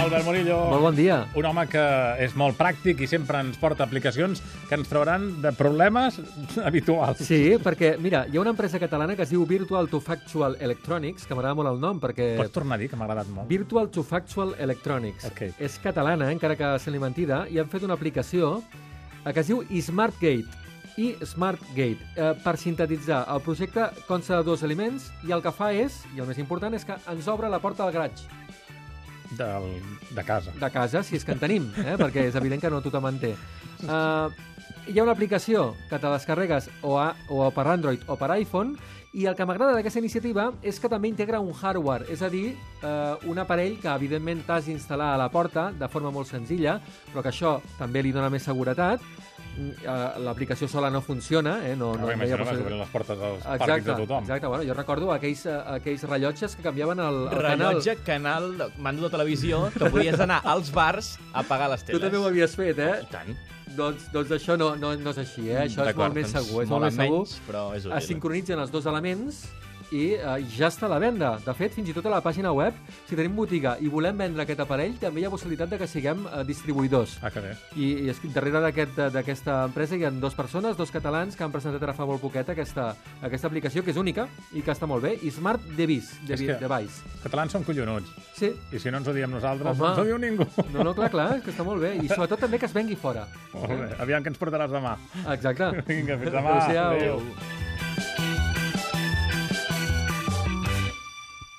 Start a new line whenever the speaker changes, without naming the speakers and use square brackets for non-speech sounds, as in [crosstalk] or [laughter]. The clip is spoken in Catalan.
Albert Murillo.
Molt bon dia.
Un home que és molt pràctic i sempre ens porta aplicacions que ens trauran de problemes [laughs] habituals.
Sí, perquè, mira, hi ha una empresa catalana que es diu Virtual to Factual Electronics, que m'agrada molt el nom perquè...
Pots tornar a dir, que m'ha agradat molt.
Virtual to Factual Electronics.
Ok.
És catalana, eh, encara que sembli mentida, i han fet una aplicació eh, que es diu Smartgate i Smartgate, eh, per sintetitzar. El projecte consta de dos elements i el que fa és, i el més important, és que ens obre la porta del garatge
Del, de casa.
de casa, si és que en tenim, eh? perquè és evident que no tothom en té. Uh, hi ha una aplicació que te descarregues o, a, o per Android o per iPhone i el que m'agrada d'aquesta iniciativa és que també integra un hardware, és a dir, eh, un aparell que evidentment t'has d'instal·lar a la porta de forma molt senzilla, però que això també li dona més seguretat. Mm, eh, L'aplicació sola no funciona, eh? no,
No,
no, no hi ha
Imagina't,
possibilitat.
s'obren les portes dels pàrquings
Exacte,
de tothom.
exacte. Bueno, jo recordo aquells, eh, aquells rellotges que canviaven el, el canal.
Rellotge, canal, mando de televisió, que podies anar als bars a pagar les
Tu
teles.
també ho havies fet, eh?
I tant.
Doncs, doncs això no, no, no és així, eh?
Mm,
Això és
D'acord,
molt més
doncs,
segur. És
molt
molt més segur.
menys, però és útil.
Es sincronitzen els dos elements i eh, ja està a la venda. De fet, fins i tot a la pàgina web, si tenim botiga i volem vendre aquest aparell, també hi ha possibilitat de que siguem eh, distribuïdors.
Ah, que bé.
I, i és que darrere d'aquest- d'aquesta empresa hi ha dues persones, dos catalans, que han presentat ara fa molt poquet aquesta, aquesta aplicació, que és única i que està molt bé, i Smart Device.
És
Device.
que- Els catalans són collonuts.
Sí,
I si no ens ho diem nosaltres,
Home.
no ens ho diu ningú. [laughs]
no, no, clar, clar, és que està molt bé. I sobretot també que es vengui fora.
Molt bé. Aviam que ens portaràs demà.
Exacte. [laughs]
Vinga, fins demà.
Adéu-siau.
Adéu.